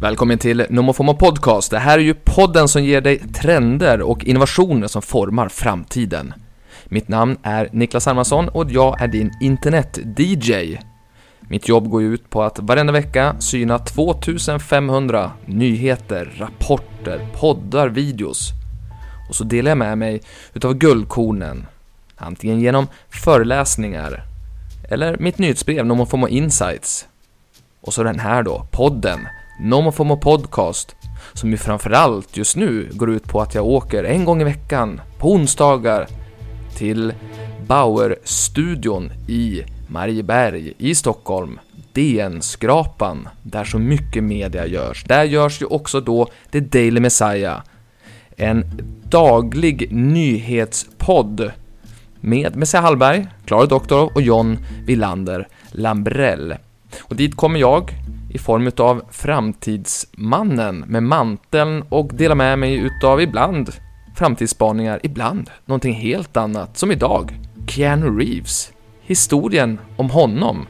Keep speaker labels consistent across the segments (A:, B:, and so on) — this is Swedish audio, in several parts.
A: Välkommen till NomoFomo Podcast. Det här är ju podden som ger dig trender och innovationer som formar framtiden. Mitt namn är Niklas Hermansson och jag är din internet-DJ. Mitt jobb går ju ut på att varenda vecka syna 2500 nyheter, rapporter, poddar, videos. Och så delar jag med mig utav guldkornen. Antingen genom föreläsningar eller mitt nyhetsbrev NomoFomo Insights. Och så den här då, podden, NomoFomo Podcast, som ju framförallt just nu går ut på att jag åker en gång i veckan, på onsdagar, till Bauer-studion i Marieberg i Stockholm, DN-skrapan, där så mycket media görs. Där görs ju också då The Daily Messiah, en daglig nyhetspodd med Messiah Hallberg, Klara Doktorov och John Wilander Lambrell. Och dit kommer jag i form utav Framtidsmannen med manteln och delar med mig utav ibland framtidsspaningar, ibland någonting helt annat, som idag, Keanu Reeves. Historien om honom.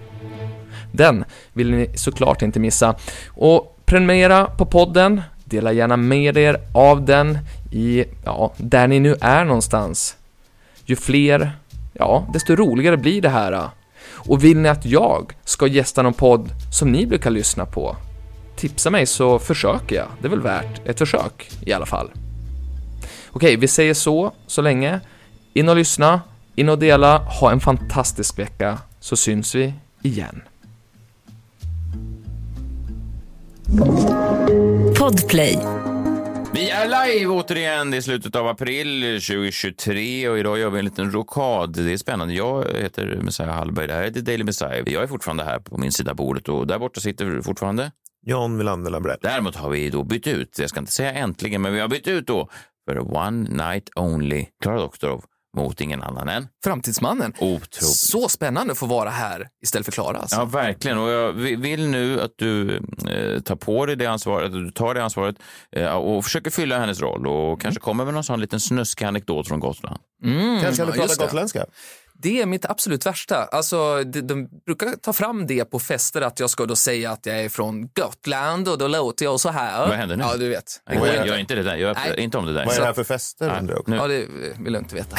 A: Den vill ni såklart inte missa. Och prenumerera på podden, dela gärna med er av den i, ja, där ni nu är någonstans. Ju fler, ja, desto roligare blir det här. Och vill ni att jag ska gästa någon podd som ni brukar lyssna på? Tipsa mig så försöker jag. Det är väl värt ett försök i alla fall. Okej, vi säger så så länge. In och lyssna, in och dela, ha en fantastisk vecka så syns vi igen.
B: Podplay.
C: Vi är live återigen. Det är slutet av april 2023 och idag gör vi en liten rokad. Det är spännande. Jag heter Messiah Hallberg. Det här är The Daily Messiah. Jag är fortfarande här på min sida av bordet och där borta sitter fortfarande.
D: John Wilander Lambrell.
C: Däremot har vi då bytt ut. Jag ska inte säga äntligen, men vi har bytt ut då för One Night Only Klara Doktorov mot ingen annan än.
A: Framtidsmannen.
C: Otroligt.
A: Så spännande att få vara här istället för Klara alltså.
C: Ja, verkligen. Och jag vi- vill nu att du eh, tar på dig det ansvaret, att du tar det ansvaret eh, och försöker fylla hennes roll och kanske kommer med någon sån liten snuskig anekdot från Gotland.
D: Kanske kan
A: Mm. ja,
D: du
A: just
D: prata
A: det.
D: gotländska?
A: Det är mitt absolut värsta. Alltså, de, de brukar ta fram det på fester att jag ska då säga att jag är från Gotland och då låter jag så här.
C: Vad händer nu?
A: Ja, du vet. Det
C: Nej,
A: går
C: gör,
A: inte.
C: gör inte det där. Gör
A: Nej.
C: inte om det där.
D: Vad är det här för fester undrar jag också.
A: Ja, det vill jag inte veta.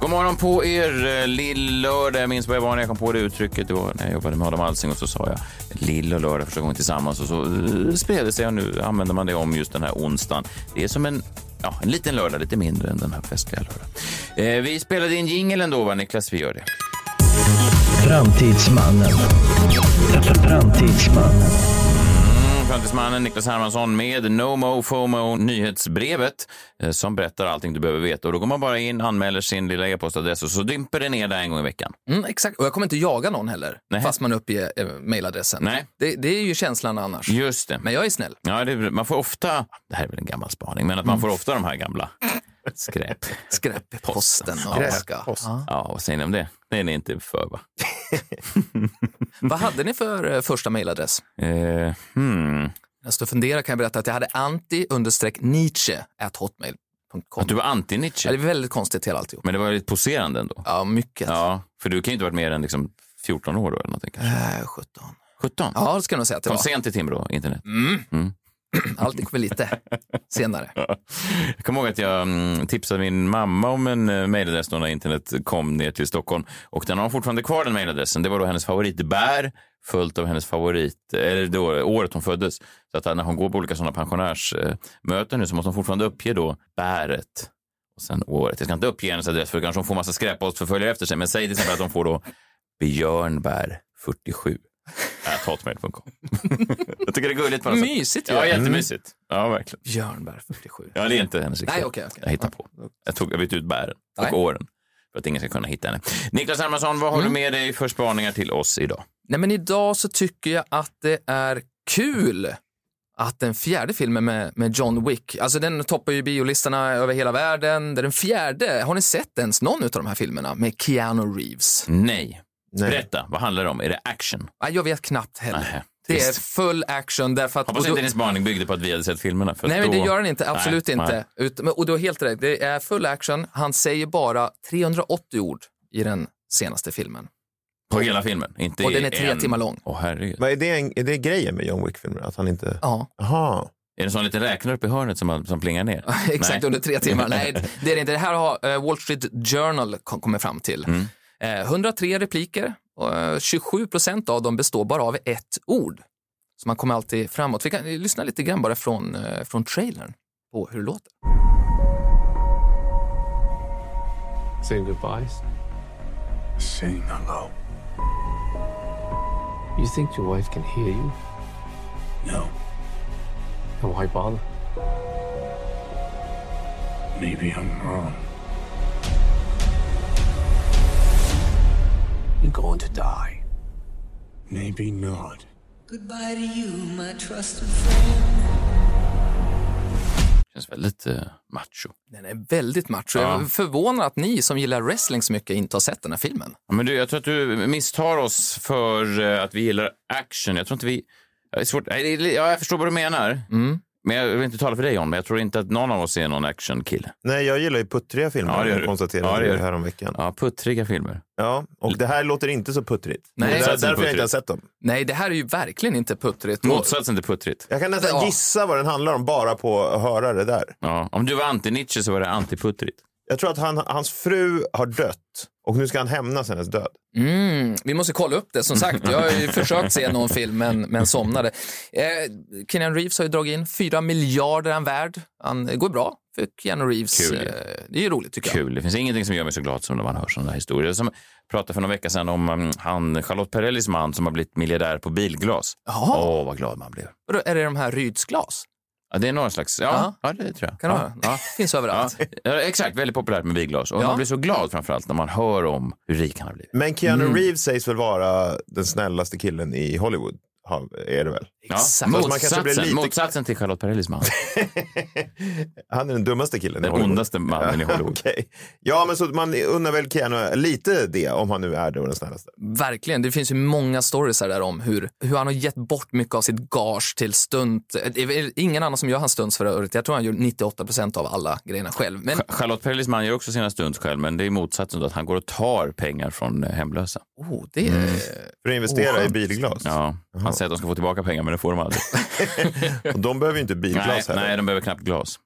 C: God morgon på er, eh, lill-lördag. Jag minns vad jag var när jag kom på det uttrycket. Det var när jag jobbade med Adam Alsing och så sa jag lill och lördag första gången tillsammans och så eh, spred det sig och nu använder man det om just den här onsdagen. Det är som en, ja, en liten lördag, lite mindre än den här festliga lördagen. Eh, vi spelade in jingeln då, va Niklas? Vi gör det.
E: Framtidsmannen. Framtidsmannen.
C: Mm, Framtidsmannen Niklas Hermansson med No Mo FOMO nyhetsbrevet eh, som berättar allting du behöver veta. Och då går man bara in, anmäler sin lilla e-postadress och så dimper det ner där en gång i veckan.
A: Mm, exakt, och jag kommer inte jaga någon heller,
C: Nej.
A: fast man uppger eh, mejladressen.
C: Nej.
A: Det, det är ju känslan annars.
C: Just det.
A: Men jag är snäll.
C: Ja, det, man får ofta, det här är väl en gammal spaning, men att
A: Mm.
C: man får ofta de här gamla skräp.
A: Skräpposten.
D: Skräppost.
A: Ja.
C: Ja, vad säger ni om det? Det är ni inte för va?
A: Vad hade ni för eh, första mejladress?
C: Eh, hmm.
A: Jag står och funderar kan jag berätta att jag hade anti-nietzsche at hotmail.com.
C: Att du var
A: Ja, det är
C: anti-Nietzsche,
A: väldigt konstigt hela alltihop.
C: men det var ju lite poserande ändå.
A: Ja, mycket.
C: Ja, för du kan ju inte ha varit mer än liksom 14 år då eller någonting kanske.
A: Äh, 17.
C: 17?
A: Ja, det ska jag nog säga att det
C: Kom
A: var.
C: sent till Timrå, internet.
A: Allting kommer lite senare.
C: Jag kommer ihåg att jag mm, tipsade min mamma om en eh, mejladress då när internet kom ner till Stockholm. Och den har hon fortfarande kvar, den mejladressen. Det var då hennes favoritbär följt av hennes favorit, eh, eller då året hon föddes. Så att eh, när hon går på olika sådana pensionärsmöten nu så måste hon fortfarande uppge då bäret och sen året. Jag ska inte uppge hennes adress för då kanske hon får massa skräppostförföljare efter sig. Men säg till exempel att hon får då Björnbär Äh, 47 at hotmail.com. Jag tycker det är gulligt på något sätt.
A: Mysigt ju.
C: Ja, jättemysigt. Ja, verkligen.
A: Björnberg 47.
C: Ja, det är inte hennes riktiga.
A: Nej, okej, okej.
C: Jag hittar på. Jag, tog, jag bytte ut bären och
A: Nej. Mm.
C: åren för att ingen ska kunna hitta henne. Niklas Hermansson, vad har du med dig för spaningar till oss idag?
A: Nej, men idag så tycker jag att det är kul att den fjärde filmen med, med John Wick, alltså den toppar ju biolistorna över hela världen. Det är den fjärde. Har ni sett ens någon av de här filmerna med Keanu Reeves?
C: Nej.
D: Nej.
C: Berätta, vad handlar det om? Är det action?
A: Nej, Jag vet knappt heller.
C: Nähä.
A: Det är
C: Trist.
A: full action därför att...
C: Hoppas
A: och då-
C: inte din spaning byggde på att vi hade sett filmerna. För
A: Nej,
C: att
A: men det
C: då-
A: gör han inte. Absolut
C: Nej,
A: inte.
C: nej.
A: Ut, men, och du har helt rätt. Det är full action. Han säger bara 380 ord i den senaste filmen.
C: På hela filmen. Inte
A: Och
C: i
A: den är tre
C: en.
A: timmar lång.
C: Åh herregud.
D: Vad är, det en, är det grejen med John Wick-filmer? Att han inte...
A: Ja,
D: Jaha.
C: Är det en sån liten räknare uppe i hörnet som, som plingar ner?
A: exakt
C: Nej.
A: under tre timmar. Nej, det är det inte. Det här har eh, Wall Street Journal kom- kommit fram till.
C: Mm.
A: Eh, 103 repliker. Och, eh, 27 procent av dem består bara av ett ord. Så man kommer alltid framåt. Vi kan eh, lyssna lite grann bara från, eh, från trailern på hur det låter.
B: Saying goodbyes?
E: Saying hello.
B: You think your wife can hear you?
E: No,
B: Then why bother?
E: maybe I'm wrong.
B: You're going to die.
E: Maybe not.
F: Goodbye to you, my trusted friend.
C: Känns väldigt eh, macho.
A: Den är väldigt macho.
C: Ja.
A: Jag är förvånad att ni som gillar wrestling så mycket inte har sett den här filmen.
C: Ja, Men du, jag tror att du misstar oss för eh, att vi gillar action. Jag tror inte vi... Det är svårt. Nej, det är li- Ja, jag förstår vad du menar.
A: Mm.
C: Men jag vill inte tala för dig om men jag tror inte att någon av oss är någon actionkille.
D: Nej, jag gillar ju puttriga filmer.
C: Ja, det gör du.
D: jag
C: Ja,
D: konstaterade
C: det gör
D: ja,
C: du.
D: häromveckan. Ja.
C: Ja, puttriga filmer.
D: och det här låter inte så puttrigt.
A: Nej.
D: Nej, där,
C: Motsatsen
D: därför jag
C: puttrigt.
D: inte har sett dem.
A: Nej, det här är ju verkligen inte puttrigt.
C: Motsatsen till puttrigt.
D: Jag kan nästan
A: Ja.
D: gissa vad den handlar om bara på att höra det där.
C: Ja. Om du var anti-Nietzsche så var det anti-puttrigt.
D: Jag tror att han, hans fru har dött och nu ska han hämnas hennes död.
A: Mm, vi måste kolla upp det, som sagt. Jag har ju försökt se någon film, men, men somnade. Eh, Keanu Reeves har ju dragit in 4 miljarder är han värd. Han det går bra för Keanu Reeves.
C: Kul.
A: Eh, det är ju roligt, tycker jag.
C: Kul. Det finns ingenting som gör mig så glad som när man hör sådana här historier. Som pratade för några vecka sedan om mm, han, Charlotte Perrellis man som har blivit miljardär på bilglas. Åh,
A: Jaha,
C: vad glad man blev.
A: och då är det de här Rydsglas?
C: Ja, det är någon slags...
A: Ja.
C: Ja, ja det tror jag.
A: Kan det
C: ja.
A: vara?
C: Ja.
A: Finns
C: Ja,
A: överallt.
C: ja, exakt. Väldigt populärt med bilglas. Och
A: Ja.
C: man blir så glad framförallt när man hör om hur rik han har blivit.
D: Men Keanu
C: Mm.
D: Reeves sägs väl vara den snällaste killen i Hollywood? Ha- Är det väl?
C: Ja.
A: Exakt.
D: Fast man kanske
C: Motsatsen,
D: blir lite-
C: motsatsen till Charlotte Perrellis man.
D: Han är den dummaste killen
C: Den
D: i Hollywood.
C: ondaste mannen i Hollywood.
D: Okej. Ja, men så att man undrar väl Keanu lite det om han nu är då den snällaste.
A: Verkligen. Det finns ju många stories här där om hur, hur han har gett bort mycket av sitt gage till stunt. Eh, Det är väl ingen annan som gör hans stunts för övrigt. Jag tror han gör 98 procent av alla grejerna själv. Men
C: Charlotte Perrellis man gör också sina stunds själv, men det är motsatsen då att han går och tar pengar från eh, hemlösa.
A: oh, det är...
C: Mm.
D: För att investera i
A: Oskönt.
D: bilglas.
C: Ja, han säger att de ska få tillbaka pengar, men det får de aldrig.
D: Och de behöver ju inte bilglas
C: nej,
D: heller.
C: nej, de behöver knappt glas.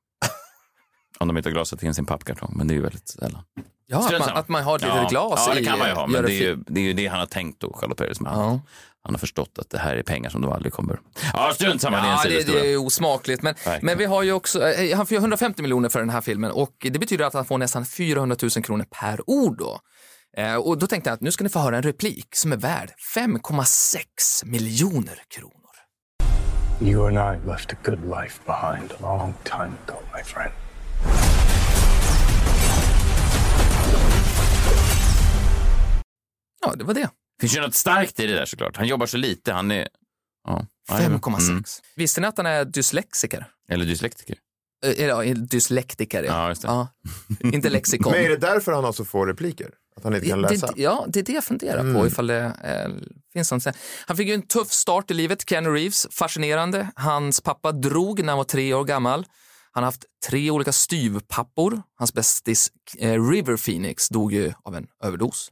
C: Om de inte har glasat in sin pappkartong, men det är ju väldigt sällan.
A: Ja, att
C: Strunt
A: man,
C: samma.
A: att man har ett litet
C: ja,
A: glas
C: Ja, det
A: i, eh,
C: kan man ju ha,
A: gör
C: men det är
A: fi-
C: ju, det är ju det han har tänkt då, Charlotte Perrellis man.
A: Ja.
C: Han har förstått att det här är pengar som de aldrig kommer... Ja, strunt samma, det är en
A: Ja, det,
C: sidohistoria.
A: det är osmakligt. Men,
C: Verkligen.
A: men vi har ju också, eh, han får ju 150 miljoner för den här filmen och det betyder att han får nästan 400 000 kronor per ord då. Eh, och då tänkte jag att nu ska ni få höra en replik som är värd 5,6 miljoner kronor.
E: You and I left a good life behind a long time ago, my friend.
A: Ja, det var det.
C: finns ju något starkt i det där såklart. Han jobbar så lite. Han är... Ja.
A: 5,6.
C: Mm.
A: Visste ni att han är dyslexiker?
C: Eller dyslektiker.
A: Eh, Ja, dyslektiker, ja.
C: Ja, just det.
A: ja. Inte lexikon.
D: Men är det därför han har så få repliker? Att han inte kan
A: Det-
D: läsa?
A: Det, ja, det är det jag funderar på. Ifall det, eh, finns någon. sån- Han fick ju en tuff start i livet, Keanu Reeves. Fascinerande. Hans pappa drog när han var tre år gammal. Han har haft tre olika styvpappor. Hans bästis eh, River Phoenix dog ju av en överdos.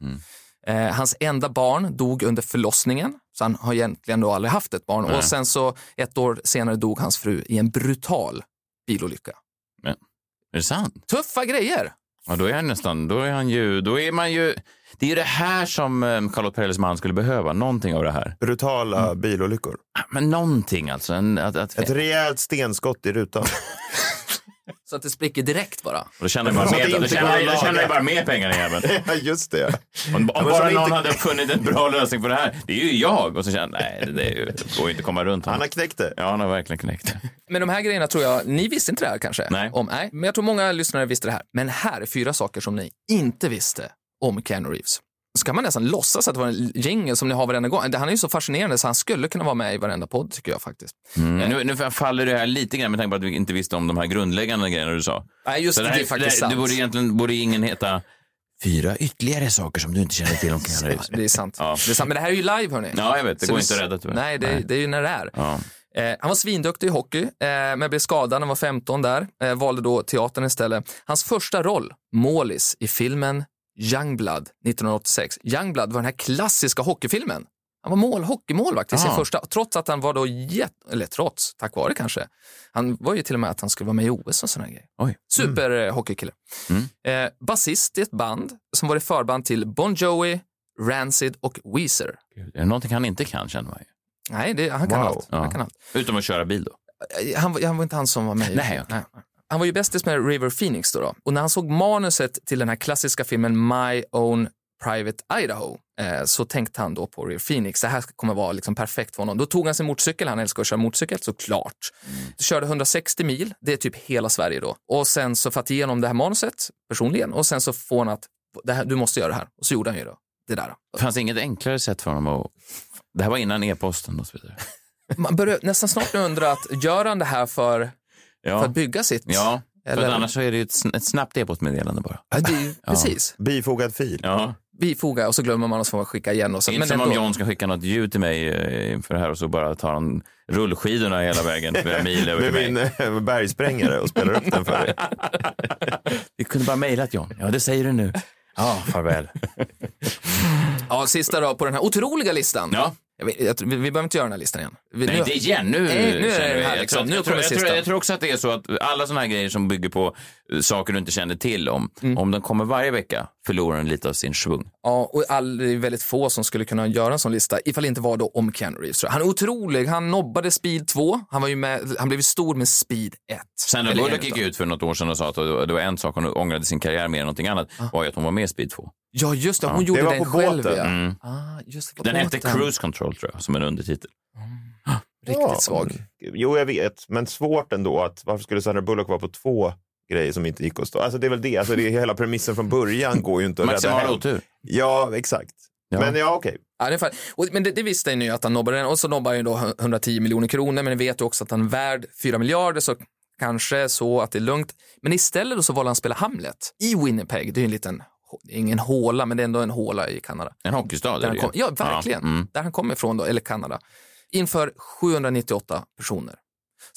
A: Eh, hans enda barn dog under förlossningen, så han har egentligen då aldrig haft ett barn. Och sen så ett år senare dog hans fru i en brutal bilolycka.
C: Är det sant?
A: Tuffa grejer!
C: Ja, då är han nästan... Då är han ju... Då är man ju... Det är ju det här som eh, Charlotte Perrellis man skulle behöva. Någonting av det här. Ah,
D: Brutala
C: Mm.
D: bilolyckor.
C: Men någonting alltså. En, att, att,
D: Ett rejält stenskott i rutan.
A: Så att det spricker direkt bara.
C: då tjänar jag bara
D: Så att det
C: mer, då
D: inte
C: tjänar,
D: går
C: jag-
D: att
C: då tjänar jag
D: laga.
C: bara mer pengar än jäveln.
D: ja, just det.
C: Om, om
D: Ja, men
C: bara
D: som
C: någon
D: inte-
C: hade funnit en bra lösning på det här. Det är ju jag. Och så känner jag, nej, det, det är ju, det går ju inte att komma runt
D: Han
C: honom.
D: har knäckt det.
C: Ja, han har verkligen knäckt det.
A: Men de här grejerna tror jag, ni visste inte det här kanske?
C: Nej.
A: Om, nej. Men jag tror många lyssnare visste det här. Men här är fyra saker som ni inte visste om Keanu Reeves. Så kan man nästan låtsas att det var en jingel som ni har varenda gång. Han är ju så fascinerande så han skulle kunna vara med i varenda podd tycker jag faktiskt.
C: Mm. Nu, nu faller det här lite grann med tanke på att vi inte visste om de här grundläggande grejerna du sa.
A: Nej, just
C: Så
A: det,
C: här-
A: är faktiskt
C: det, här-
A: sant.
C: Du borde egentligen borde ingen heta fyra ytterligare saker som du inte känner till om Keanu Reeves.
A: Det är sant.
C: Ja.
A: Det är sant. Men det här är ju live hörni.
C: Ja, jag vet. Det
A: Så
C: går inte att rädda tyvärr.
A: Nej, det, är-
C: Nej.
A: det är ju när det är.
C: Ja.
A: Eh, han var svinduktig i hockey, eh, men blev skadad när han var 15 där. Eh, valde då teatern istället. Hans första roll, målis, i filmen Youngblood 1986. Youngblood var den här klassiska hockeyfilmen. Han var mål, hockeymålvakt i sin
C: Ah.
A: första, trots att han var då jätte, eller trots, tack vare kanske. Han var ju till och med att han skulle vara med i OS och sådana grejer.
C: Oj. Mm.
A: Superhockeykille. Eh, Basist i ett band som var i förband till Bon Jovi, Rancid och Weezer.
C: Gud, är det Någonting han inte kan känner man ju.
A: Nej, det, han, kan
D: Wow.
A: allt. han
C: Ja.
A: kan allt.
C: Utom att köra bil då.
A: Eh, Han, var- han var inte han som var med. i-
C: Nej, okej.
A: Han var ju bästis med River Phoenix då, då. Och när han såg manuset till den här klassiska filmen My Own Private Idaho eh, så tänkte han då på River Phoenix. Det här kommer vara liksom perfekt för honom. Då tog han sin motorcykel, han älskar att köra motorcykel såklart.
C: Mm.
A: Körde 160 mil, det är typ hela Sverige då. Och sen så fatt igenom det här manuset personligen och sen så får han att det här, du måste göra det här. Och så gjorde han ju då det där.
C: Det fanns inget enklare sätt för honom att... Det här var innan e-posten och så vidare.
A: Man börjar nästan snart undra att gör han det här för, för
C: Ja,
A: att bygga sitt?
C: ja. för
A: Eller-
C: att annars så är det ju ett, sn- ett snabbt e-postmeddelande bara.
A: Ja, det är ju, Precis.
D: Bifogad fil.
C: Ja.
A: bifoga och så glömmer man och så får man skicka igen. Och så,
C: Det är inte som om John ska skicka något ljud till mig eh, inför det här och så bara tar han rullskidorna hela vägen flera mil över
D: Med
C: till
D: min
C: mig.
D: eh, bergsprängare och spelar upp den för dig.
C: Vi kunde bara mejlat John. Ja, det säger du nu. Ja, farväl.
A: ja, sista då på den här otroliga listan.
C: Ja.
A: Jag vet, jag, tror- vi, vi behöver inte göra den här listan igen. Vi,
C: Nej,
A: nu-
C: inte igen. Nu,
A: Nej, nu är
C: känner
A: det
C: vi-
A: här
C: jag
A: liksom.
C: tror att-
A: Nu
C: jag, tror,
A: kommer
C: jag,
A: sista.
C: tror, jag tror också att det är så att alla sådana här grejer som bygger på eh, saker du inte känner till om,
A: Mm.
C: om de kommer varje vecka förlorar den lite av sin svung.
A: ja, och all, det är väldigt få som skulle kunna göra en sån lista, ifall det inte var då om Keanu Reeves. tror jag. Han är otrolig, han nobbade Speed 2, han, var ju med, han blev ju stor med Speed 1.
C: Sandra
A: Eller en
C: Bullock gick
A: utav-
C: ut för något år sedan och sa att det var en sak hon ångrade sin karriär mer än någonting annat
A: Ah.
C: var ju att hon var med i Speed 2.
A: Ja, just det, hon gjorde
D: Det var
A: den
D: på
A: själv.
D: båten.
A: Ja.
C: Mm.
A: Ah, just det, på
C: Den hette
A: båten.
C: Cruise Control tror jag, som en undertitel.
A: Riktigt
D: Ja.
A: svag.
D: Jo, jag vet, men svårt ändå. att Varför skulle Sandra Bullock vara på två grejer som inte gick att stå? Alltså, det är väl det. Alltså, det är hela premissen från början går ju inte att rädda
C: Maximal
D: hem.
C: otur.
D: Ja, exakt.
C: Ja.
D: Men ja, okej.
A: Ja, det är fan- och, men det, det visste han ju att han nobbade den och så nobbar han ju då 110 miljoner kronor men vi vet ju också att han är värd 4 miljarder så kanske så att det är lugnt. Men istället då så valde han att spela Hamlet i Winnipeg. Det är ju en liten, det är ingen håla men det är ändå en håla i Kanada.
C: En hockeystad
A: Där
C: är
A: han
C: det
A: kom,
C: ju.
A: ja, verkligen.
C: Ja, mm.
A: Där han kommer ifrån då, eller Kanada. Inför 798 personer.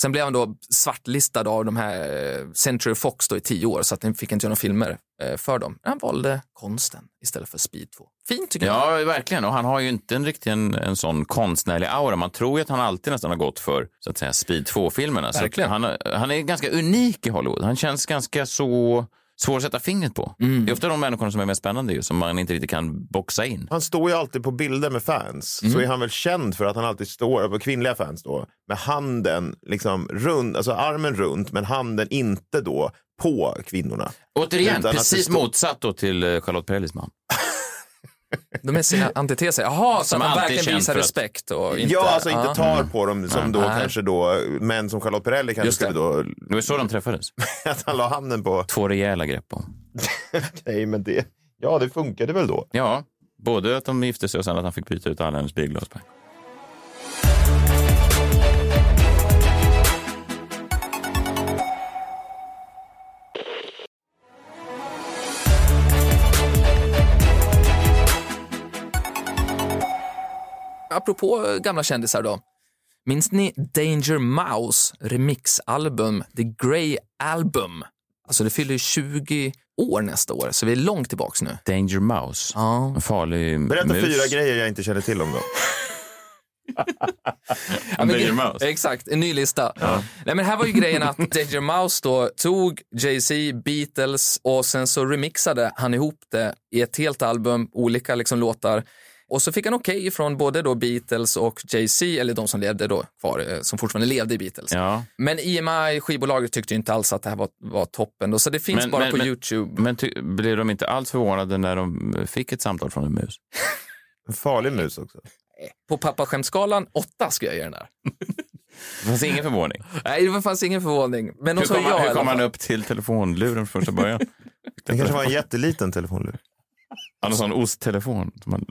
A: Sen blev han då svartlistad av de här eh, Century Fox då i tio år så att han fick inte göra några filmer eh, för dem. Han valde konsten istället för Speed 2. Fint tycker jag.
C: Ja, verkligen. Och han har ju inte en riktigt en, en sån konstnärlig aura. Man tror ju att han alltid nästan har gått för så att säga Speed 2-filmerna. Så
A: Verkligen.
C: Han, han är ganska unik i Hollywood. Han känns ganska så svår att sätta fingret på.
D: Mm.
C: Det är ofta de människorna som är mest spännande ju, som man inte riktigt kan boxa in.
D: Han står ju alltid på bilder med fans. Så är han väl känd för att han alltid står, på kvinnliga fans då, med handen liksom runt, alltså armen runt, men handen inte då på kvinnorna.
C: Återigen,
D: Utan att
C: precis
D: det står-
C: motsatt då till eh, Charlotte Perrellis man.
A: De är sina antiteser. Jaha, så
C: Som
A: att man
C: alltid
A: verkligen
C: känt
A: visar
C: för att-
A: respekt och inte... Ah.
D: ja, alltså inte
A: Ja.
D: tar på dem som då
A: Nej.
D: kanske då män som Charlotte Perrelli kanske
A: Just det.
D: skulle då,
C: Det var så de träffades.
D: att han la handen på.
C: Två rejäla grepp om.
D: Nej, men det, ja det funkade väl då.
C: Ja, både att de gifte sig och sen att han fick byta ut alla hennes bilglas.
A: Apropå eh, gamla kändisar då. Minns ni Danger Mouse remixalbum, The Grey Album? Alltså det fyller ju 20 år nästa år, så vi är långt tillbaks nu.
C: Danger Mouse.
A: Ja.
C: En farlig
D: Berätta
C: mus.
D: fyra grejer jag inte känner till om dem.
A: men
C: Danger
A: gre-
C: Mouse.
A: Exakt, en ny lista. Nej, men här var ju grejen att Danger Mouse då tog Jay-Z, Beatles och sen så remixade han ihop det i ett helt album, olika liksom låtar. Och så fick han okej från både då Beatles och Jay-Z, eller de som levde då kvar, eh, som fortfarande levde i Beatles.
C: Ja.
A: Men EMI, skivbolaget, tyckte ju inte alls att det här var, var toppen då, så det finns
C: Men-
A: bara
C: men-
A: på
C: men-
A: YouTube.
C: Men ty- blev de inte alls förvånade när de eh, fick ett samtal från en mus?
D: En farlig mus också.
A: På pappaskämtskalan, åtta ska jag ge den där.
C: Det fanns ingen förvåning.
A: Nej, det fanns ingen förvåning. Men de
C: Hur
A: sa
C: kom,
A: ja
C: han,
A: i
C: hur
A: alla
C: kom han
A: fall.
C: upp till telefonluren från första början?
D: Det kanske var en jätteliten telefonlur.
C: Han har sån osttelefon. Som man...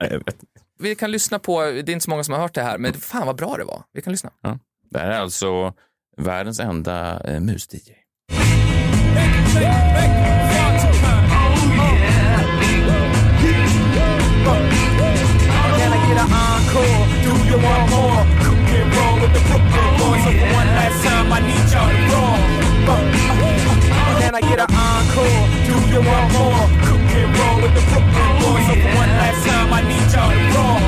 C: Nej, jag vet. inte.
A: Vi kan lyssna på, det är inte så många som har hört det här, men fan vad bra det var. Vi kan lyssna.
C: Ja. Det här är alltså världens enda eh, mus-DJ.
G: Make it shake, make it rock tonight. you want more. Cook and roll with the Brooklyn boys. So for one last time, I need y'all to roar. Uh, Can I get an encore? Do you want more? Cook and roll with the Brooklyn boys. So for one last time, I need y'all to roar.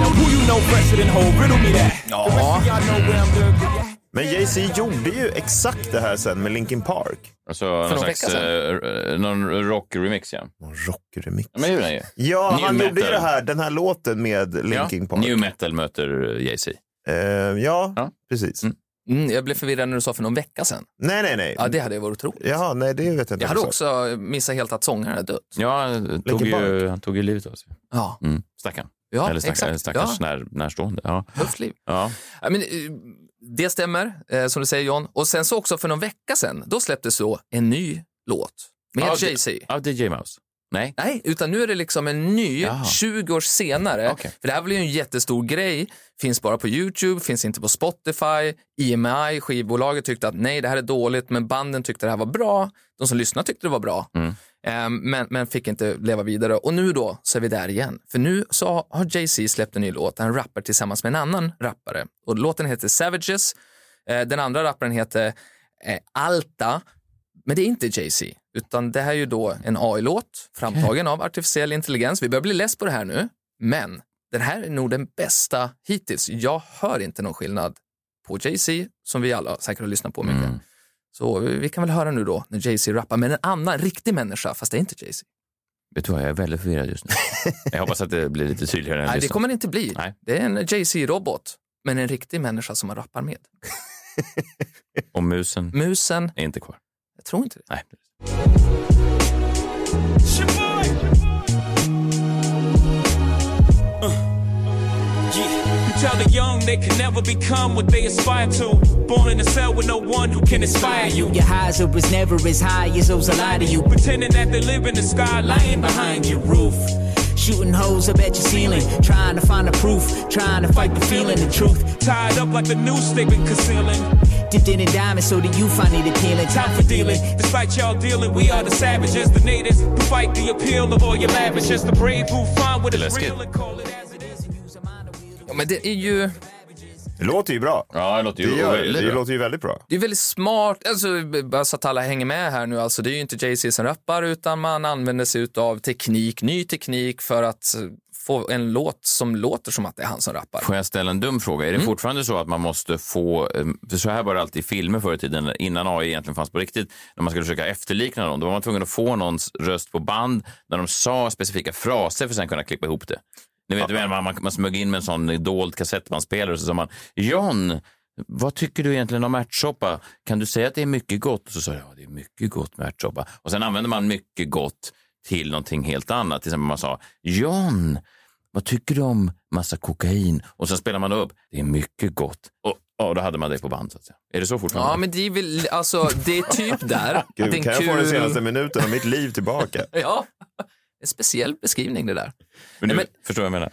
G: Now who you know fresher than whole? Riddle me that. The rest of y'all know where I'm gonna be at.
D: Men Jay-Z gjorde ju exakt det här sen med Linkin Park.
C: Alltså, någon
A: vecka
C: slags eh, någon rock-remix, ja.
D: Och en Rockremix.
C: Ja, Men det gjorde han ju.
D: Ja,
C: New
D: han gjorde ju
C: metal.
D: det här, den här låten med Linkin Park.
C: New metal möter eh, Jay-Z.
D: Eh, ja,
C: Ja.
D: precis.
C: Mm.
A: Mm, jag blev förvirrad när du sa för någon vecka sedan.
D: Nej, nej, nej.
A: Ja, det hade ju varit otroligt.
D: Jaha, nej, det vet jag inte.
A: Jag hade också missat helt att sångaren hade dött.
C: Ja, han tog ju,
D: Park.
C: han tog ju livet av sig.
A: Ja,
C: Mm. Stackarn.
A: ja
C: Eller stack,
A: exakt.
C: stackars
A: ja,
C: när, närstående. Ja.
A: tufft liv.
C: Ja.
A: Ja, men, eh, det stämmer, eh, som du säger John. Och sen så också för någon vecka sedan, då släpptes så en ny låt med
C: Ja, det-
A: Jay-Z.
C: ja, DJ Mouse. Nej.
A: Nej, utan nu är det liksom en ny,
C: Jaha.
A: 20 år senare.
C: Okej.
A: För det här blev ju en jättestor grej. Finns bara på YouTube, finns inte på Spotify. EMI, skivbolaget, tyckte att nej, det här är dåligt, men banden tyckte det här var bra. De som lyssnade tyckte det var bra,
C: Mm.
A: Ehm, men, men fick inte leva vidare. Och nu då, så är vi där igen. För nu så har Jay-Z släppt en ny låt. Han rappar tillsammans med en annan rappare. Och låten heter Savages. Eh, Den andra rapparen heter eh, Alta. Men det är inte Jay-Z, utan det här är ju då en AI-låt framtagen av artificiell intelligens. Vi börjar bli less på det här nu, men den här är nog den bästa hittills. Jag hör inte någon skillnad på Jay-Z, som vi alla säkert har lyssnat på mycket.
C: Mm.
D: Mm.
A: Så vi vi kan väl höra nu då när Jay-Z rappar med en annan riktig människa, fast det är inte Jay-Z.
C: Vet du vad, jag är väldigt förvirrad just nu. jag hoppas att det blir lite tydligare. när jag
A: Nej, det
C: lyssnar.
A: kommer det inte bli.
C: Nej.
A: Det är en Jay-Z-robot, men en riktig människa som man rappar med.
C: Och musen
A: Musen,
C: är inte kvar.
A: jag tror inte det.
C: Nej.
G: It's your boy. Yeah. You tell the young they can never become what they aspire to. Born in a cell with no one who can inspire you.
H: Your highs are was never as high as those I lie to you.
G: Pretending that they live in the sky, lying behind your roof.
H: Shooting holes up at your ceiling, trying to find the proof, trying to fight the feeling, the truth.
G: Tied up like the noose they've been concealing.
H: Dipped in a diamond so that you find it appealing.
G: Time for dealing. Despite y'all dealing, we are the savages, the natives who fight the appeal of all your lavishes. The brave who find what is
C: Let's
G: real
C: get-
G: and call it as it is.
A: Ja, men det är ju...
D: Det låter ju bra.
C: Ja, det låter
D: Det,
C: ju
D: gör, det,
C: väldigt bra.
D: låter ju väldigt bra.
A: Det är väldigt smart, alltså, bara så att alla hänger med här nu, alltså, det är ju inte Jay-Z som rappar utan man använder sig av teknik, ny teknik för att eh, få en låt som låter som att det är han som rappar.
C: Får jag ställa en dum fråga? Är
D: Mm.
C: det fortfarande så att man måste få... eh, För så här var det alltid i filmer förr i tiden, innan AI egentligen fanns på riktigt. När man skulle försöka efterlikna någon, då var man tvungen att få någons röst på band när de sa specifika fraser för att sen kunna klippa ihop det. Ni vet, väl, man, man, man smög in med en sån dold kassettbandspelare och så sa man John, vad tycker du egentligen om ärtsoppa? Kan du säga att det är mycket gott? Och så sa jag, ja, det är mycket gott med ärtsoppa. Och sen använde man mycket gott till någonting helt annat. Till exempel man sa, John, vad tycker du om massa kokain? Och sen spelar man upp, det är mycket gott. Och ja, då hade man det på band. Så att säga. Är det så fortfarande?
A: Ja, men det är väl, alltså, det är typ där.
D: Gud,
A: Det är en
D: kan jag få den
A: kul-
D: senaste minuten av mitt liv tillbaka?
A: Ja, en speciell beskrivning det där.
C: Men du,
A: Nej,
C: Förstår vad jag menar?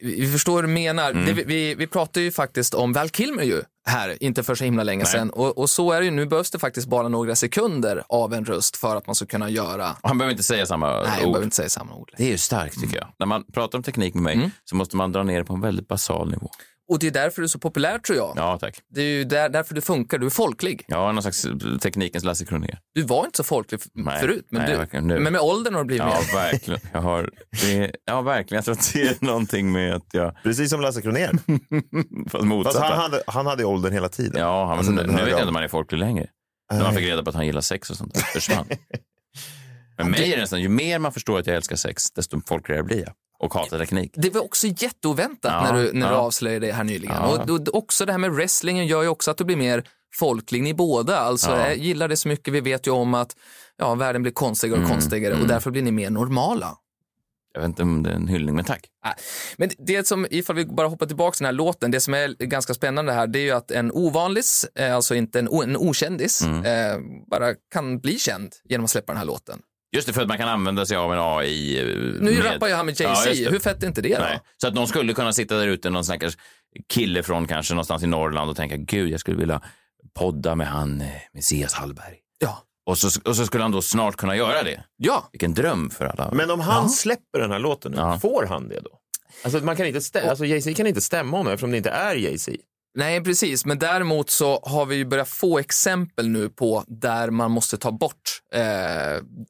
A: Vi vi förstår hur du menar. Det,
D: Mm.
A: vi- vi, vi pratar ju faktiskt om Val Kilmer ju här, inte för så himla länge sedan. Och, och så är det ju, nu behövs det faktiskt bara några sekunder av en röst för att man ska kunna göra,
C: Och Han behöver inte säga samma
A: nej,
D: Oh.
A: jag
C: ord.
A: behöver inte säga samma ord.
C: Det är ju starkt tycker jag. När man pratar om teknik med mig
A: Mm.
C: så måste man dra ner det på en väldigt basal nivå.
A: Och det är därför du är så populär tror jag.
C: Ja, tack.
A: Det är ju där, därför du funkar, du är folklig.
C: Ja, någon slags eh, teknikens Lasse Kronér.
A: Du var inte så folklig f-
C: Nej,
A: förut, men,
C: nej,
A: du,
C: verkligen, nu.
A: men med åldern har du blivit
C: Ja,
A: mer.
C: verkligen. Jag har, det, ja, verkligen. Jag tror att det är någonting med att jag...
D: Precis som Lasse Kronér.
C: Fast
D: Fast
C: motsatt.
D: han hade, han hade ju åldern hela tiden. Eh,
C: Ja, han,
D: Alltså,
C: nu
D: den
C: vet
D: höga
C: jag inte
D: åldern.
C: om man är folklig längre. När man fick reda på att han gillar sex och sånt där. Försvann. Men mig är det nästan, ju mer man förstår att jag älskar sex, desto folkligare blir jag. Och hatar teknik.
A: Det var också jätteoväntat
C: Ja,
A: när, du, när du
C: ja.
A: avslöjade det här nyligen.
C: Ja.
A: Och, och också det här med wrestlingen gör ju också att du blir mer folklig, ni båda. Alltså,
C: Ja.
A: jag gillar det så mycket, vi vet ju om att ja, världen blir konstigare
C: Mm,
A: och konstigare och därför blir ni mer normala.
C: Jag vet inte om det är en hyllning, men tack.
A: Nej. Men det som, ifall vi bara hoppar tillbaka till den här låten, det som är ganska spännande här, det är ju att en ovanlis, eh, alltså inte en, o- en okändis,
D: Mm.
A: eh, bara kan bli känd genom att släppa den här låten.
C: Just det, för att man kan använda sig av en AI. eh,
A: Nu
C: med-
A: rappar ju han med
C: Ja,
A: Jay-Z,
C: just det.
A: hur fett är inte det då?
C: Nej. Så att någon skulle kunna sitta där ute, någon stackars kille från kanske någonstans i Norrland och tänka, gud, jag skulle vilja podda med han, eh, Messias Hallberg.
A: Ja.
C: Och så, och så skulle han då snart kunna göra det.
A: ja.
C: Vilken dröm för alla.
D: Men om han släpper den här låten nu,
C: Ja.
D: får han det då? Alltså, man kan inte stä- alltså, Jay-Z kan inte stämma honom eftersom det inte är Jay-Z.
A: Nej, precis. Men däremot så har vi ju börjat få exempel nu på där man måste ta bort eh,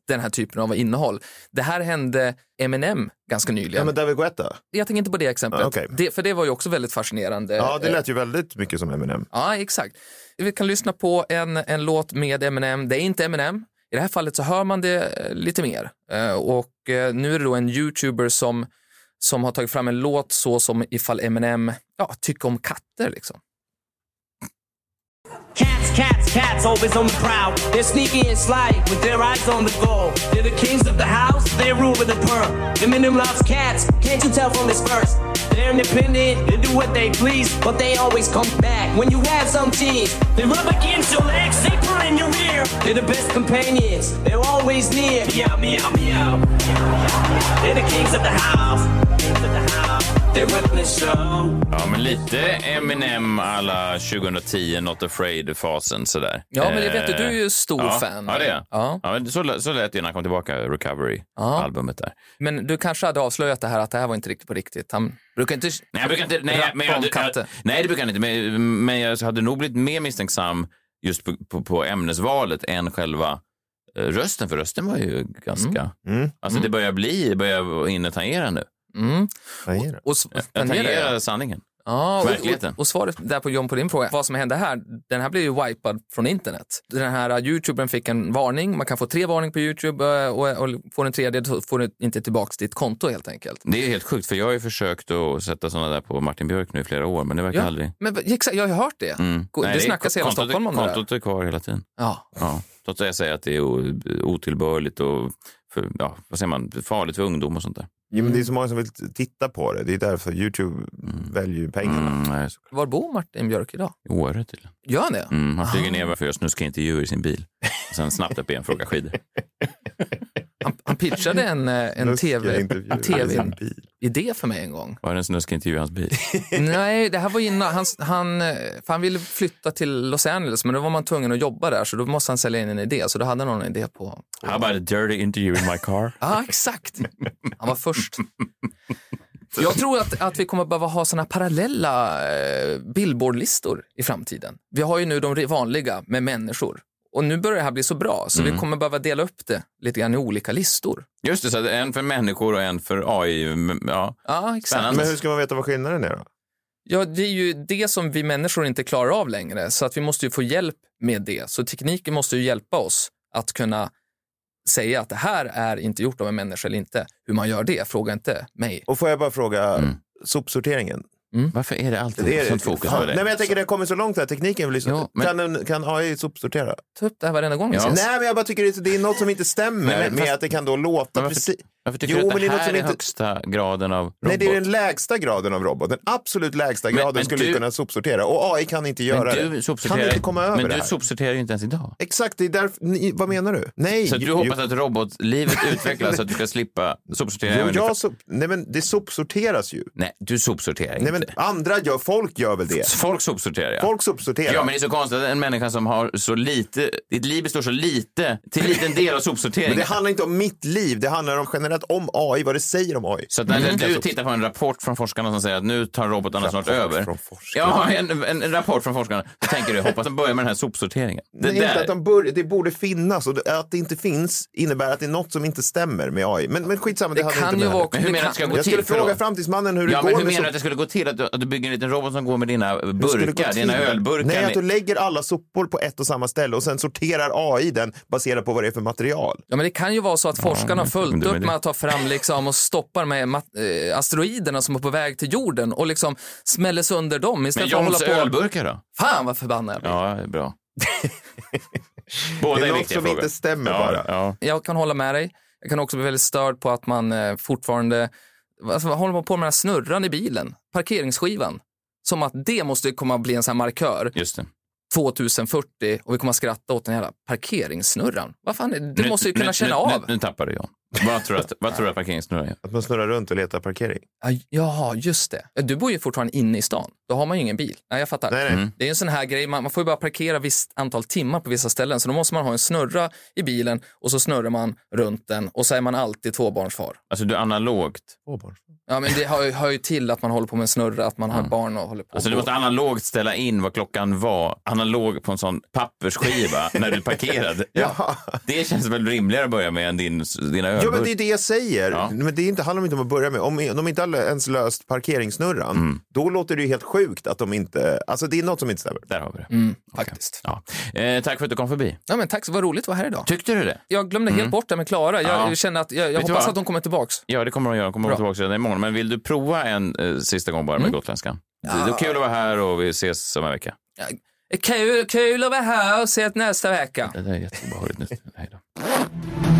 A: den här typen av innehåll. Det här hände Eminem ganska nyligen.
D: Ja, men David
C: Eh,
D: Guetta.
A: Jag tänker inte på det exemplet,
D: Ah, okej.
A: det, för det var ju också väldigt fascinerande.
D: Ja, det
A: Eh,
D: lät ju väldigt mycket som Eminem.
A: Ja, exakt. Vi kan lyssna på en, en låt med Eminem. Det är inte Eminem. I det här fallet så hör man det eh, lite mer. Eh, Och eh, nu är det då en youtuber som, som har tagit fram en låt så som ifall Eminem ja, tycker om katter. Liksom.
I: Cats, cats, cats, always on the prowl. They're sneaky and sly with their eyes on the goal. They're the kings of the house, they rule with a pearl. Eminem loves cats, can't you tell from his verse? They're independent, they do what they please, but they always come back when you have some tease. They rub against your legs, they pull in your ear. They're the best companions, they're always near. Meow, meow, meow. They're the kings of the house. Kings of the house. They run the show.
C: Ja, men lite Eminem alla 2010 Not Afraid-fasen sådär.
A: Ja, men det vet du,
C: Eh,
A: du är ju stor
C: ja,
A: fan.
C: Ja, det är jag.
A: Ja.
C: ja. men så, lä- så lät det när han kom tillbaka, Recovery-albumet där.
A: Men du kanske hade avslöjat det här att det här var inte riktigt på riktigt. Han brukar inte
C: Nej, jag brukar inte, nej,
A: rappa
C: men jag,
A: om katter.
C: jag, nej, det brukar jag inte. Men, men jag hade nog blivit mer misstänksam just på, på, på ämnesvalet än själva eh, rösten, för rösten var ju ganska...
A: Mm.
C: Alltså det börjar bli, börjar hinna tangera nu.
D: Vad är det?
A: och, s-
C: Jag
A: men det är det.
C: tangerar sanningen.
A: Ja, och,
C: Verkligheten.
A: och, och svaret där på John på din fråga, vad som hände här, den här blev ju wipad från internet. Den här eh, youtubern fick en varning, man kan få tre varning på youtube eh, och, och får en tredje så får du inte tillbaka ditt konto helt enkelt.
C: Det är helt sjukt, för jag har ju försökt att sätta sådana där på Martin Björk nu i flera år, men det verkar
A: Ja,
C: aldrig...
A: Men v- exakt, jag har ju hört det.
C: Mm.
A: Go-
C: Nej,
A: det
C: är-
A: snackas hela
C: kontot är-
A: Stockholm om det där.
C: Kontot är kvar hela tiden.
A: Ja.
C: Ja. Trots att jag säger att det är o- otillbörligt och för, ja, vad säger man, farligt för ungdom och sånt där.
D: Ja, men det är så många som vill t- titta på det. Det är därför YouTube väljer ju pengarna.
C: Mm, nej, så-
A: Var bor Martin Björk idag?
C: I Åre tydligen.
A: Gör han det?
C: Mm, han
D: Ah.
C: flyger ner för att snuska intervjuer i sin bil. Sen snabbt upp igen för att åka skidor.
A: Han, han pitchade
C: Mm.
A: en, eh, en
D: Lustiga
A: tv-idé
D: intervjuer
A: en
D: i sin
A: TV
D: bil.
A: idé för mig en gång.
C: Var det en snuskintervju i hans bil?
A: Nej, det här var innan. Han, han, eh, för han ville flytta till Los Angeles, men då var man tvungen att jobba där, så då måste han sälja in en idé. Så då hade han någon idé på...
C: How about a dirty interview in my car?
A: Ja, exakt. Han var först. Jag tror att, att vi kommer behöva ha såna parallella eh, billboardlistor i framtiden. Vi har ju nu de re- vanliga med människor. Och nu börjar det här bli så bra, så vi kommer behöva dela upp det lite grann i olika listor.
C: Just det, så att en för människor och en för AI. m- Ja.
A: Ja, exakt.
C: Spännande.
D: Men hur ska man veta vad skillnaden är då?
A: Ja, det är ju det som vi människor inte klarar av längre, så att vi måste ju få hjälp med det. Så tekniken måste ju hjälpa oss att kunna säga att det här är inte gjort av en människa eller inte. Hur man gör det, fråga inte mig.
D: Och får jag bara fråga, sopsorteringen.
C: Varför är Mm. det alltid
D: Mm. Det är
C: sånt fokus
D: Fan,
C: på det?
D: Nej, men jag tänker det har kommit så långt här, tekniken blir så...
C: Jo, men-
D: kan, en, kan AI sopsortera?
A: Ta upp det här varenda gång vi
C: Ja.
A: ses.
D: Nej, men jag bara tycker det, det är något som inte stämmer
C: Nej,
D: med,
C: fast-
D: med att det kan då låta
C: Men varför-
D: precis...
C: Varför tycker
D: Jo,
C: du att
D: men
C: det
D: det
C: här
D: är något
C: är,
D: som inte-
C: högsta graden av robot?
D: Nej, det är den lägsta graden av robot. Den absolut lägsta
C: Men-
D: graden
C: men
D: skulle
C: du-
D: kunna sopsortera. Och AI kan inte göra
C: men
D: det.
C: du
D: Kan
C: sopsorterar,
D: inte komma över
C: men
D: det
C: du
D: här.
C: sopsorterar ju inte ens idag.
D: Exakt, det är därför... Ni, vad menar du? Nej!
C: Mm. Så att du
D: ju-
C: hoppas att robotlivet utvecklas så att du ska slippa sopsortera?
D: Jo,
C: även
D: jag sop... Nej, men det sopsorteras ju.
C: Nej, du sopsorterar
D: Nej,
C: inte.
D: men andra gör... Folk gör väl det?
C: Folk sopsorterar, ja.
D: Folk sopsorterar.
C: Ja, men det är så konstigt att en människa som har så lite, ditt liv består så lite, till liten del av
D: Men
C: sopsortering.
D: det handlar inte om mitt liv, det handlar om generellt om AI, vad det säger om AI.
C: Så att när
D: Mm.
C: du tittar på en rapport från forskarna som säger att nu tar robotarna snart
D: Rapport
C: över.
D: från forskarna.
C: Ja, en, en, en rapport från forskarna. Då tänker du, hoppas de börjar med den här sopsorteringen. Det
D: Nej, inte
C: där.
D: att de bör, det borde finnas och det- att det inte finns innebär att det är något som inte stämmer med AI. Men, men skitsamma, det,
A: Det
D: hade
A: kan
D: inte
A: ju
D: med-
A: vara...
C: Men hur
A: det
C: menar
A: kan-
C: du att det ska gå
D: Jag skulle
C: till,
D: fråga
C: förlåt.
D: framtidsmannen hur
C: Ja,
D: det
C: men
D: går
C: hur menar du att
D: sop-
C: det skulle gå till? Att du, att du bygger en liten robot som går med dina
D: hur skulle det gå
C: burkar,
D: till?
C: dina ölburkar?
D: Nej, att du
C: med-
D: lägger alla sopor på ett och samma ställe och sen sorterar AI den baserat på vad det är för material.
A: Ja, men det kan ju vara så att forskarna har
C: men
A: följt
C: det-
A: upp med att ta fram liksom, och stoppa de här mat- eh, asteroiderna som är på väg till jorden och liksom smäller sönder dem
C: Men
A: istället för att
C: Johns
A: hålla på...
C: ölburkar då?
A: Fan vad förbannad jag blir.
C: Ja, bra. Båda
D: Det är något
C: viktiga
D: som
C: frågor.
D: inte stämmer
C: ja,
D: bara.
C: Ja.
A: jag kan hålla med dig. Jag kan också bli väldigt störd på att man eh, fortfarande alltså, vad håller man på med den här snurran i bilen, parkeringsskivan. Som att det måste komma att bli en sån här markör
C: Just det.
A: 2040 och vi kommer att skratta åt den här jävla parkeringssnurran. Vad fan, är- du
C: Nu-
A: måste ju kunna
C: nu,
A: känna
C: nu,
A: av.
C: Nu, nu tappade jag. Vad tror du att, vad tror du att parkeringssnurran gör?
D: Att man snurrar runt och letar parkering.
A: Ja, Ja, just det. Ja, Du bor ju fortfarande inne i stan. Då har man ju ingen bil. Nej, jag fattar. Mm.
D: Nej, nej.
A: Det är ju en sån här grej, man, man får ju bara parkera visst antal timmar på vissa ställen. Så då måste man ha en snurra i bilen och så snurrar man runt den och så är man alltid tvåbarnsfar.
C: Alltså du analogt.
A: Ja, men det hör, ju- hör ju till att man håller på med en snurra, att man har barn och håller på.
C: Alltså du måste analogt ställa in vad klockan var analog på en sån pappersskiva när du parkerade. Ja. Det känns väl rimligare att börja med än din, dina
D: Ja, men det är
C: ölburkar.
D: det jag säger.
C: Ja.
D: Men det är inte, handlar inte om att börja med. Om de inte har ens löst parkeringssnurran,
C: Mm.
D: då låter det ju helt sjukt att de inte... Alltså det är något som inte stämmer.
C: Där har vi det.
A: Mm, faktiskt.
C: Ja. Eh, tack för att du kom förbi.
A: Ja, men tack, vad roligt att vara här idag.
C: Tyckte du det?
A: Jag glömde helt bort det med Klara. Jag
C: Mm. Ja.
A: känner att, jag, jag
C: Vet du
A: hoppas
C: vad?
A: att hon kommer tillbaks.
C: Ja, det kommer de göra. De kommer
A: Bra. Mm.
C: tillbaka redan imorgon. Men vill du prova en eh, sista gång bara med gotländskan? Det var kul att vara här och vi ses om en vecka.
A: Kul, kul att vara här och ses nästa vecka.
C: Det där är jätteobehagligt nu. Hej då.